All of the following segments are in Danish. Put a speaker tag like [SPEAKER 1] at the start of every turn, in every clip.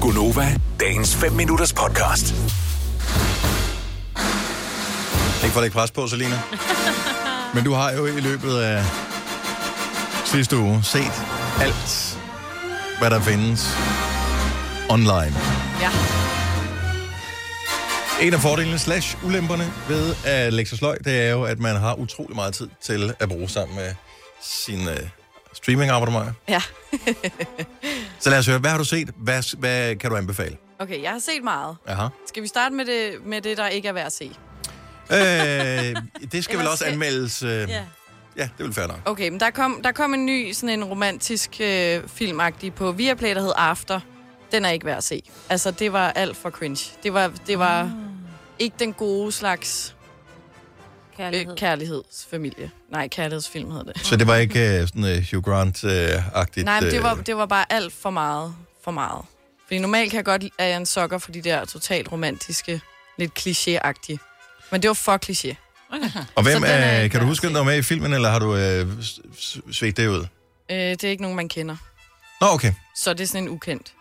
[SPEAKER 1] Gunova, dagens 5 minutters podcast.
[SPEAKER 2] Ikke for at lægge pres på, Selina. Men du har jo i løbet af sidste uge set alt, hvad der findes online.
[SPEAKER 3] Ja.
[SPEAKER 2] En af fordelene slash ulemperne ved at lægge sig sløj, det er jo, at man har utrolig meget tid til at bruge sammen med sin øh, streaming abonnement.
[SPEAKER 3] Ja.
[SPEAKER 2] Så lad os høre, hvad har du set? Hvad, hvad kan du anbefale?
[SPEAKER 3] Okay, jeg har set meget.
[SPEAKER 2] Aha.
[SPEAKER 3] Skal vi starte med det, med det der ikke er værd at se?
[SPEAKER 2] Øh, det skal vel
[SPEAKER 3] Ellers
[SPEAKER 2] også
[SPEAKER 3] skal-
[SPEAKER 2] anmeldes... Øh, ja. ja, det vil fair nok.
[SPEAKER 3] Okay, men der kom, der kom en ny, sådan en romantisk øh, filmagtig på Viaplay, der hed After. Den er ikke værd at se. Altså, det var alt for cringe. Det var, det var ikke den gode slags øh,
[SPEAKER 4] Kærlighed.
[SPEAKER 3] kærlighedsfamilie. Nej, kærlighedsfilm hed det.
[SPEAKER 2] Så det var ikke øh, sådan øh, Hugh Grant-agtigt?
[SPEAKER 3] Nej, men det var, det var bare alt for meget. For meget. Fordi normalt kan jeg godt, at jeg er en sokker for de der totalt romantiske, lidt kliché-agtige. Men det var for kliché.
[SPEAKER 2] Og hvem
[SPEAKER 3] Så den er
[SPEAKER 2] er,
[SPEAKER 3] ikke
[SPEAKER 2] kan du
[SPEAKER 3] værd
[SPEAKER 2] huske,
[SPEAKER 3] at
[SPEAKER 2] om
[SPEAKER 3] se.
[SPEAKER 2] der var med i filmen, eller har du øh, s- s- svedt det ud?
[SPEAKER 3] Øh, det er ikke nogen, man kender.
[SPEAKER 2] Nå, okay.
[SPEAKER 3] Så det er sådan en ukendt.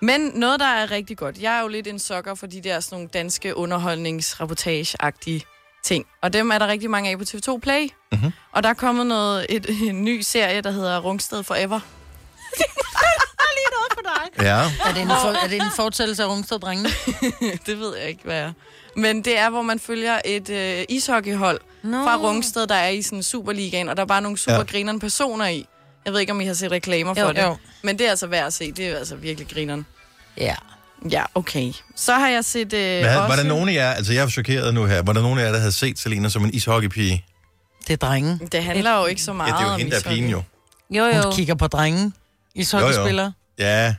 [SPEAKER 3] Men noget, der er rigtig godt. Jeg er jo lidt en sokker for de der sådan nogle danske underholdningsreportageagtige ting. Og dem er der rigtig mange af på TV2 Play. Mm-hmm. Og der er kommet noget, et, en ny serie, der hedder Rungsted Forever.
[SPEAKER 2] Ja.
[SPEAKER 4] Er det en, for, er det en fortællelse af Rungsted Drengene?
[SPEAKER 3] det ved jeg ikke, hvad er. Men det er, hvor man følger et øh, ishockeyhold no. fra Rungsted, der er i sådan Superligaen, og der er bare nogle super
[SPEAKER 2] Ja.
[SPEAKER 3] grinerne personer i. Jeg ved ikke, om I har set reklamer for
[SPEAKER 4] Jo,
[SPEAKER 3] det.
[SPEAKER 4] jo.
[SPEAKER 3] Men det er altså værd at se. Det er altså virkelig grineren.
[SPEAKER 4] Ja.
[SPEAKER 3] Ja, okay. Så har jeg set øh,
[SPEAKER 2] Hvad,
[SPEAKER 3] også...
[SPEAKER 2] var der nogen af jer, altså jeg er chokeret nu her, var der nogen af jer, der havde set Selena som en ishockeypige?
[SPEAKER 4] Det er drenge.
[SPEAKER 3] Det handler jo ikke så
[SPEAKER 2] Ja,
[SPEAKER 3] meget
[SPEAKER 2] det er jo
[SPEAKER 3] om
[SPEAKER 2] hende, der er
[SPEAKER 3] ishockey.
[SPEAKER 2] pigen jo.
[SPEAKER 5] Jo, jo.
[SPEAKER 4] Hun kigger på drenge. I hockeyspillere.
[SPEAKER 2] Ja.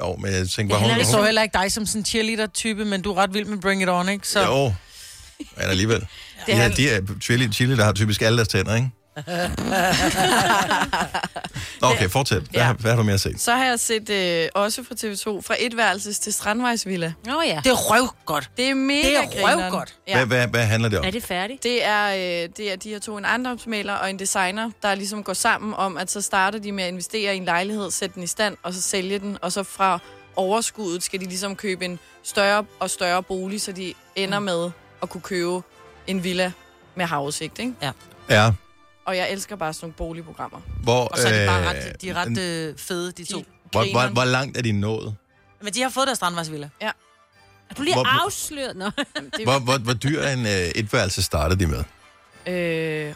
[SPEAKER 2] Jo, men jeg tænkte bare, hun...
[SPEAKER 4] Jeg så
[SPEAKER 2] hun
[SPEAKER 4] heller ikke dig som sådan en cheerleader-type, men du er ret vild med Bring It On, ikke? Så jo.
[SPEAKER 2] jo, men alligevel.
[SPEAKER 3] Det
[SPEAKER 2] Ja,
[SPEAKER 3] handler-
[SPEAKER 2] de er chili, chili, der har typisk alle deres tænder, ikke? Nå, okay, fortsæt. Hvad,
[SPEAKER 3] Ja.
[SPEAKER 2] har- hvad har du mere set?
[SPEAKER 3] Så har jeg set øh, også fra TV2, fra etværelses til Strandvejsvilla.
[SPEAKER 5] Nå oh, ja.
[SPEAKER 4] det er røv godt.
[SPEAKER 3] Det er mega
[SPEAKER 4] Det er
[SPEAKER 3] grineren.
[SPEAKER 4] røvgodt.
[SPEAKER 3] Ja.
[SPEAKER 2] Hvad, hvad, hvad handler det om?
[SPEAKER 5] Er det færdigt?
[SPEAKER 3] Det er, øh, det er de her to, en ejendomsmaler og en designer, der ligesom går sammen om, at så starter de med at investere i en lejlighed, sætte den i stand, og så sælge den, og så fra overskuddet skal de ligesom købe en større og større bolig, så de
[SPEAKER 4] Mm.
[SPEAKER 3] ender med at kunne købe en villa med havudsigt, ikke?
[SPEAKER 2] Ja,
[SPEAKER 3] Og jeg elsker bare sådan nogle boligprogrammer.
[SPEAKER 2] hvor...
[SPEAKER 4] Og så er de bare
[SPEAKER 2] øh,
[SPEAKER 4] ret, de er ret øh, fede, de to.
[SPEAKER 2] hvor, hvor,
[SPEAKER 3] grineren.
[SPEAKER 2] hvor langt er de nået?
[SPEAKER 4] Men de har fået deres strandvejsvilla.
[SPEAKER 5] Er du lige
[SPEAKER 2] Hvor-
[SPEAKER 5] afsløret? Nå.
[SPEAKER 3] Det,
[SPEAKER 2] Hvor, hvor, hvor dyr en øh, etværelse startede de med?
[SPEAKER 3] øh,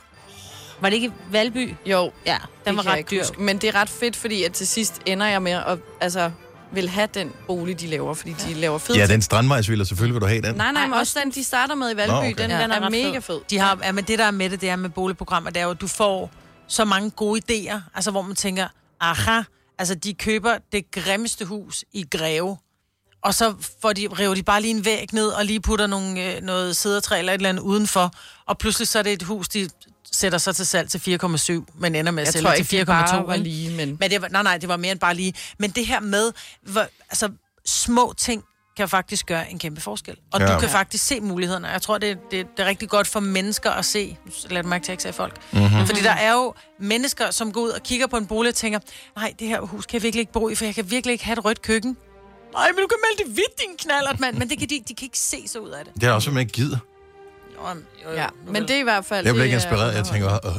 [SPEAKER 5] Var det ikke Valby?
[SPEAKER 3] jo,
[SPEAKER 5] Ja, den
[SPEAKER 3] Det
[SPEAKER 5] var
[SPEAKER 3] kan jeg
[SPEAKER 5] ret
[SPEAKER 3] ikke
[SPEAKER 5] dyr.
[SPEAKER 3] huske. Men det er ret fedt, fordi at til sidst ender jeg med at altså, vil have den bolig, de laver, fordi de laver fed.
[SPEAKER 2] Ja, den strandvejsvilla, selvfølgelig vil du have den.
[SPEAKER 3] Nej, nej, men
[SPEAKER 5] Ej,
[SPEAKER 3] også den, de starter med i Valby,
[SPEAKER 2] Nå,
[SPEAKER 3] Nå,
[SPEAKER 2] okay.
[SPEAKER 3] okay. den,
[SPEAKER 4] Ja,
[SPEAKER 3] ja, den
[SPEAKER 5] den
[SPEAKER 3] er,
[SPEAKER 5] er ret fed.
[SPEAKER 3] mega fed.
[SPEAKER 4] De har, ja, men det der er med det, det er med boligprogrammer, det er jo, at du får så mange gode idéer, altså hvor man tænker, aha, altså de køber det grimmeste hus i Greve, og så får de, river de bare lige en væg ned og lige putter nogle, øh, noget sædertræ eller et eller andet udenfor, og pludselig så er det et hus, de sætter så til salg til 4,7, men ender med at
[SPEAKER 3] Jeg
[SPEAKER 4] sælge
[SPEAKER 3] tror
[SPEAKER 4] til
[SPEAKER 3] ikke,
[SPEAKER 4] 4,2.
[SPEAKER 3] det bare var
[SPEAKER 4] ikke?
[SPEAKER 3] lige, men...
[SPEAKER 4] Men det var, nej, nej, det var mere end bare lige. Men det her med, hvor, altså små ting kan faktisk gøre en kæmpe forskel. Og
[SPEAKER 2] Ja.
[SPEAKER 4] ja. du kan faktisk se mulighederne. Jeg tror, det, det, det er rigtig godt for mennesker at se. Lad mig ikke tage af folk.
[SPEAKER 2] Mhm.
[SPEAKER 4] Mm-hmm. Fordi der er jo mennesker, som går ud og kigger på en bolig og tænker, nej, det her hus kan jeg virkelig ikke bo i, for jeg kan virkelig ikke have et rødt køkken. Nej, men du kan melde det vidt, din knallert, mand. Men det kan de, ikke- de kan ikke se så ud af det.
[SPEAKER 2] Det er også, at man ikke gider.
[SPEAKER 4] Jo, jo, jo,
[SPEAKER 3] Ja,
[SPEAKER 4] nu
[SPEAKER 3] men
[SPEAKER 4] vel.
[SPEAKER 3] det er i hvert fald...
[SPEAKER 2] Jeg bliver
[SPEAKER 3] det
[SPEAKER 2] ikke
[SPEAKER 3] er
[SPEAKER 2] inspireret. Jeg tænker, øh,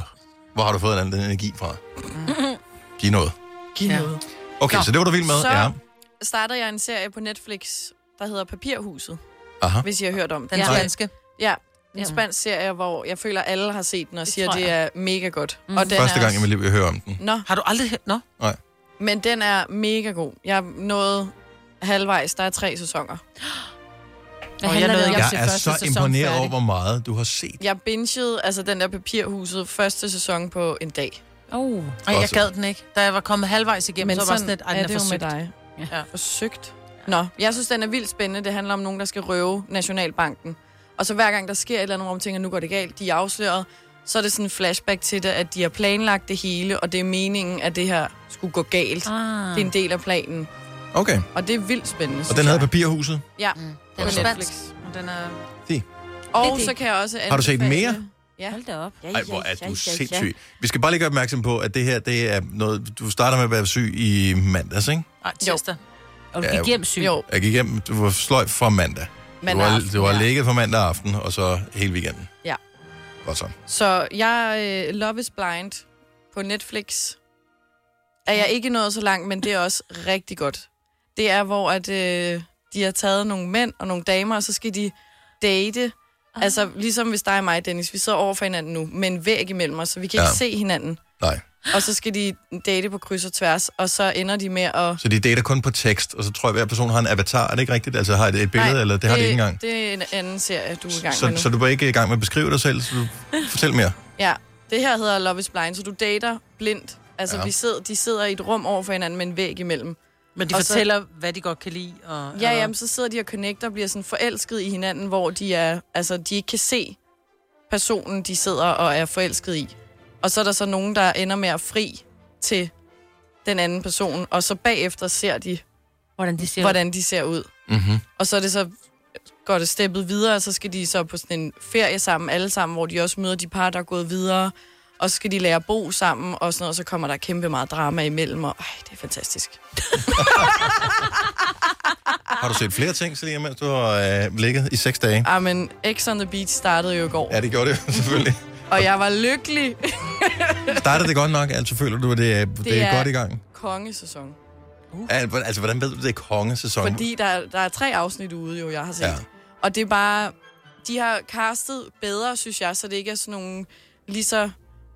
[SPEAKER 2] hvor har du fået den, den energi fra? Giv noget.
[SPEAKER 3] Giv noget.
[SPEAKER 2] Okay,
[SPEAKER 3] Nå,
[SPEAKER 2] så det var du vild med.
[SPEAKER 3] så-
[SPEAKER 2] Ja.
[SPEAKER 3] Starter jeg en serie på Netflix, der hedder Papirhuset,
[SPEAKER 2] Aha.
[SPEAKER 3] hvis I har hørt om
[SPEAKER 4] Den
[SPEAKER 3] Ja.
[SPEAKER 4] spanske.
[SPEAKER 3] Ja, en spansk serie, hvor jeg føler, alle har set den og siger,
[SPEAKER 5] tror
[SPEAKER 3] det er mega godt. Mm. Og den
[SPEAKER 2] Første
[SPEAKER 3] er
[SPEAKER 2] gang
[SPEAKER 3] også-
[SPEAKER 2] i mit liv, jeg hører om den.
[SPEAKER 3] Nå,
[SPEAKER 4] Har du aldrig hørt? Nå,
[SPEAKER 2] Nej.
[SPEAKER 3] men den er mega god. Jeg nåede halvvejs. Der er tre sæsoner.
[SPEAKER 5] Hvad
[SPEAKER 4] Åh, jeg
[SPEAKER 5] handler
[SPEAKER 4] nåede
[SPEAKER 5] det om?
[SPEAKER 4] ikke.
[SPEAKER 2] Jeg
[SPEAKER 4] se
[SPEAKER 2] er
[SPEAKER 4] første
[SPEAKER 2] så
[SPEAKER 4] sæson
[SPEAKER 2] imponeret
[SPEAKER 4] færdig.
[SPEAKER 2] over, hvor meget du har set.
[SPEAKER 3] Jeg bingede altså den der papirhuset første sæson på en dag.
[SPEAKER 5] Oh.
[SPEAKER 4] Ej, jeg
[SPEAKER 2] Også.
[SPEAKER 4] gad den ikke. Da jeg var kommet halvvejs igennem, Men så var jeg sådan lidt, ej,
[SPEAKER 3] er
[SPEAKER 4] den
[SPEAKER 3] det
[SPEAKER 4] er
[SPEAKER 3] jo med
[SPEAKER 4] forsøgt.
[SPEAKER 3] dig.
[SPEAKER 4] Ja.
[SPEAKER 3] Forsøgt. Nå, jeg synes, den er vildt spændende. Det handler om nogen, der skal røve Nationalbanken. Og så hver gang der sker et eller andet, hvor man tænker, nu går det galt, de er afsløret, så er det sådan en flashback til det, at de har planlagt det hele, og det er meningen, at det her skulle gå galt.
[SPEAKER 5] Ah.
[SPEAKER 3] Det er en del af planen.
[SPEAKER 2] Okay,
[SPEAKER 3] Og det er vildt spændende,
[SPEAKER 2] og
[SPEAKER 3] synes
[SPEAKER 2] den hedder
[SPEAKER 3] jeg.
[SPEAKER 2] Papirhuset.
[SPEAKER 3] Ja,
[SPEAKER 4] Den er
[SPEAKER 2] Også.
[SPEAKER 4] spansk. Og Den er...
[SPEAKER 3] og
[SPEAKER 5] Det er
[SPEAKER 3] så
[SPEAKER 5] det.
[SPEAKER 3] kan jeg også
[SPEAKER 2] Har du set
[SPEAKER 3] anbefale-
[SPEAKER 2] mere?
[SPEAKER 3] Ja.
[SPEAKER 5] Hold da op. Ja,
[SPEAKER 2] Ej, hvor er du sindssyg. Vi skal bare lige gøre opmærksom på, at det her, det er noget... Du starter med at være syg i mandags, ikke?
[SPEAKER 4] Ej, tirsdag.
[SPEAKER 5] Og du
[SPEAKER 2] Ja,
[SPEAKER 5] gik hjem syg.
[SPEAKER 3] Jo,
[SPEAKER 2] Jeg gik hjem, du var sløj fra mandag.
[SPEAKER 3] men
[SPEAKER 2] du var, du var ligget fra mandag aften, og så hele weekenden.
[SPEAKER 3] Ja.
[SPEAKER 2] Godt så.
[SPEAKER 3] Så jeg øh, Love is Blind på Netflix. Er jeg ikke nået så langt, men det er også rigtig godt. Det er, hvor at, øh, de har taget nogle mænd og nogle damer, og så skal de date. Altså, ligesom hvis dig og mig, Dennis, vi sidder over for hinanden nu, men væg imellem os, så vi kan
[SPEAKER 2] Ja.
[SPEAKER 3] ikke se hinanden.
[SPEAKER 2] Nej.
[SPEAKER 3] Og så skal de date på kryds og tværs, og så ender de med at...
[SPEAKER 2] Så de dater kun på tekst, og så tror jeg, at hver person har en avatar. Er det ikke rigtigt? Altså har et, et billede, Nej, eller det har de ikke engang?
[SPEAKER 3] Det er en anden serie, du er i gang med
[SPEAKER 2] Så,
[SPEAKER 3] nu.
[SPEAKER 2] så du var ikke i gang med at beskrive dig selv, så du fortæl mere.
[SPEAKER 3] Ja, det her hedder Love is Blind, så du dater blindt. Altså,
[SPEAKER 2] Ja.
[SPEAKER 3] ja. vi sidder, de sidder i et rum over for hinanden med en væg imellem.
[SPEAKER 4] Men de
[SPEAKER 3] Og så-
[SPEAKER 4] fortæller, hvad de godt kan lide. Og,
[SPEAKER 3] Ja,
[SPEAKER 4] og-
[SPEAKER 3] jamen, så sidder de og connecter og bliver sådan forelsket i hinanden, hvor de er, altså, de ikke kan se personen, de sidder og er forelsket i. Og så er der så nogen, der ender med at fri til den anden person, og så bagefter ser de,
[SPEAKER 5] Hvordan de siger
[SPEAKER 3] hvordan de ser ud.
[SPEAKER 2] Mm-hmm.
[SPEAKER 3] Og så er det så går det steppet videre, og så skal de så på sådan en ferie sammen, alle sammen, hvor de også møder de par, der er gået videre. Og så skal de lære at bo sammen, og sådan noget, og så kommer der kæmpe meget drama imellem, og ej, det er fantastisk.
[SPEAKER 2] Har du set flere ting, Selina, mens du har øh, ligget i seks dage?
[SPEAKER 3] Ah, men X on the Beach startede jo i går,
[SPEAKER 2] Ja, det gjorde det selvfølgelig.
[SPEAKER 3] og jeg var lykkelig.
[SPEAKER 2] Startede det godt nok? Altså føler du, at det, er, det, det er,
[SPEAKER 3] er-
[SPEAKER 2] godt i gang?
[SPEAKER 3] Kongesæson.
[SPEAKER 2] Al- Altså, hvordan ved du, det er kongesæson?
[SPEAKER 3] Fordi der, er- der er tre afsnit ude, jo, jeg har set.
[SPEAKER 2] Ja.
[SPEAKER 3] Ja. Og det er bare... De har castet bedre, synes jeg, så det ikke er sådan nogle lige så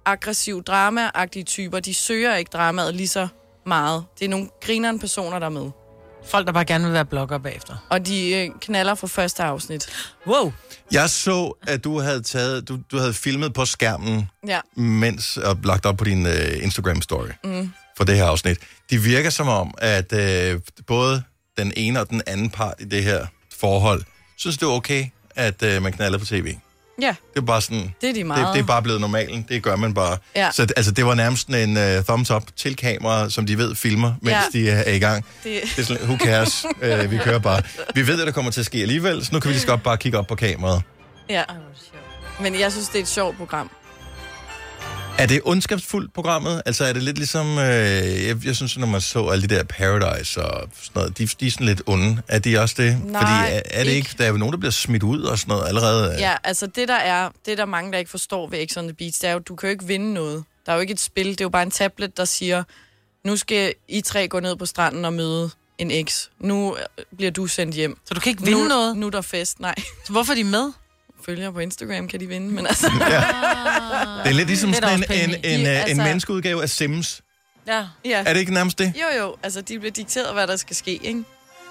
[SPEAKER 3] aggressiv drama typer. De søger ikke dramaet lige så meget. Det er nogle grineren personer, der er med.
[SPEAKER 4] Folk, der bare gerne vil være blogger bagefter.
[SPEAKER 3] Og de øh, knaller fra første afsnit.
[SPEAKER 4] Wow.
[SPEAKER 2] Jeg så, at du havde, taget, du, du havde filmet på skærmen,
[SPEAKER 3] Ja.
[SPEAKER 2] mens og lagt op på din øh, Instagram-story mm. for det her afsnit. Det virker som om, at øh, både den ene og den anden part i det her forhold, synes det er okay, at øh, man knaller på tv. Det
[SPEAKER 3] Ja,
[SPEAKER 2] er bare sådan...
[SPEAKER 3] det er de
[SPEAKER 2] Det,
[SPEAKER 3] meget.
[SPEAKER 2] det er bare blevet normalen. Det gør man bare.
[SPEAKER 3] Ja.
[SPEAKER 2] Så altså, det var nærmest sådan en uh, thumbs up til kamera, som de ved filmer, mens ja.
[SPEAKER 3] Ja.
[SPEAKER 2] de er, er i gang.
[SPEAKER 3] Det-
[SPEAKER 2] Det er sådan, lidt, who cares? uh, vi kører bare. Vi ved, at der kommer til at ske alligevel, så nu kan vi lige så godt bare kigge op på kameraet.
[SPEAKER 3] Ja.
[SPEAKER 5] sjovt.
[SPEAKER 3] Men jeg synes, det er et sjovt program.
[SPEAKER 2] Er det ondskabsfuldt, programmet? Altså er det lidt ligesom... Øh, jeg, jeg synes, når man så alle de der Paradise og sådan noget, de, de er sådan lidt onde. Er de også det?
[SPEAKER 3] Nej,
[SPEAKER 2] Fordi er, er det ikke...
[SPEAKER 3] ikke.
[SPEAKER 2] Der er jo nogen, der bliver smidt ud og sådan noget allerede. øh.
[SPEAKER 3] Ja, altså det der er, det der mange, der ikke forstår ved X on the Beach, det er jo, du kan jo ikke vinde noget. Der er jo ikke et spil, det er jo bare en tablet, der siger, nu skal I tre gå ned på stranden og møde en X. Nu øh, bliver du sendt hjem.
[SPEAKER 4] Så du kan ikke vinde
[SPEAKER 3] nu,
[SPEAKER 4] noget?
[SPEAKER 3] Nu er der fest. Nej,
[SPEAKER 4] Så Hvorfor er de med?
[SPEAKER 3] følgere på Instagram kan de vinde, men altså...
[SPEAKER 4] Ah.
[SPEAKER 2] Det er lidt ligesom
[SPEAKER 4] Det er der
[SPEAKER 2] sådan
[SPEAKER 4] også
[SPEAKER 2] en, en,
[SPEAKER 4] penge
[SPEAKER 2] en,
[SPEAKER 3] De-
[SPEAKER 2] øh, en
[SPEAKER 3] altså-
[SPEAKER 2] menneskeudgave af Sims.
[SPEAKER 4] Ja.
[SPEAKER 3] Ja.
[SPEAKER 2] Er det ikke nærmest det?
[SPEAKER 3] Jo, jo, altså de bliver dikteret, hvad der skal ske, ikke?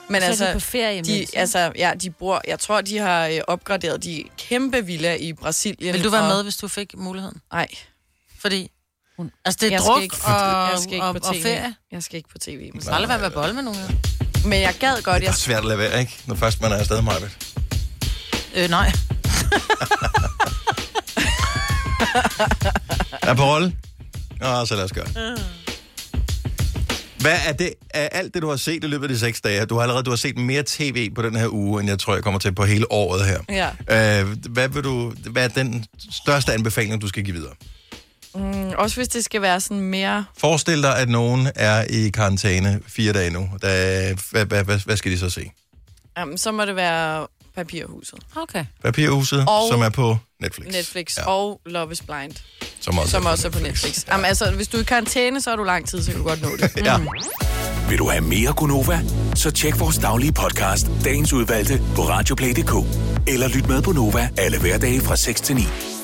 [SPEAKER 3] Men
[SPEAKER 5] Så er de på
[SPEAKER 3] altså,
[SPEAKER 5] ferie imens,
[SPEAKER 3] de,
[SPEAKER 5] ikke?
[SPEAKER 3] altså, ja, de bor, jeg tror, de har øh, opgraderet de kæmpe villa i Brasilien.
[SPEAKER 4] Vil du være
[SPEAKER 3] og-
[SPEAKER 4] med, hvis du fik muligheden?
[SPEAKER 3] Nej,
[SPEAKER 4] Fordi... Altså, det er
[SPEAKER 3] jeg
[SPEAKER 4] druk
[SPEAKER 3] skal ikke,
[SPEAKER 4] og,
[SPEAKER 3] jeg skal ikke
[SPEAKER 4] og,
[SPEAKER 3] på
[SPEAKER 4] og
[SPEAKER 3] tv.
[SPEAKER 4] ferie.
[SPEAKER 3] Jeg skal ikke på tv.
[SPEAKER 4] Du skal aldrig være med bold med nogen. jo.
[SPEAKER 3] Men jeg gad godt,
[SPEAKER 2] Det er
[SPEAKER 3] jeg
[SPEAKER 2] svært at lade være, ikke? Når først man er afsted, Marvitt.
[SPEAKER 4] Øh, nej.
[SPEAKER 2] Er på rolle? Nå, så lad os gøre det. Hvad er det af alt det, du har set i løbet af de seks dage? Du har allerede du har set mere tv på den her uge, end jeg tror, jeg kommer til på hele året her.
[SPEAKER 3] Ja.
[SPEAKER 2] Øh, hvad, vil du, hvad er den største anbefaling, du skal give videre?
[SPEAKER 3] mm, Også hvis det skal være sådan mere...
[SPEAKER 2] Forestil dig, at nogen er i karantæne fire dage nu. Da, hvad, hvad, hvad, hvad skal de så se?
[SPEAKER 3] Jamen, så må det være Papirhuset,
[SPEAKER 5] Okay.
[SPEAKER 2] Papirhuset,
[SPEAKER 3] Og-
[SPEAKER 2] som er på Netflix.
[SPEAKER 3] Netflix
[SPEAKER 2] Ja,
[SPEAKER 3] ja. og Love is Blind,
[SPEAKER 2] som også,
[SPEAKER 3] som også er på Netflix. Ja. Jamen, altså, hvis du er i karantæne, så er du lang tid, så kan du godt nå det.
[SPEAKER 2] Ja.
[SPEAKER 1] Vil du have mere Gunova? Så tjek vores daglige podcast, dagens udvalgte, på radioplay.dk. Eller lyt med på Nova alle hverdage fra 6 til 9.